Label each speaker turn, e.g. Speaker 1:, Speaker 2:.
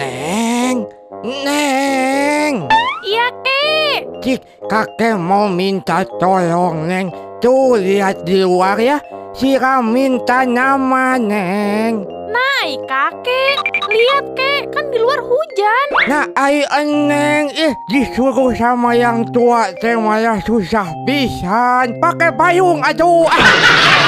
Speaker 1: Neng, Neng,
Speaker 2: Iya, Kek.
Speaker 1: Cik, kakek mau minta tolong, Neng. Tuh lihat di luar ya, Sira minta nama, Neng.
Speaker 2: Hai, Kakek. Lihat, Kek. Kan di luar hujan.
Speaker 1: Nah, ai eneng, ih disuruh sama yang tua teh malah susah pisan. Pakai payung, aduh. Ah.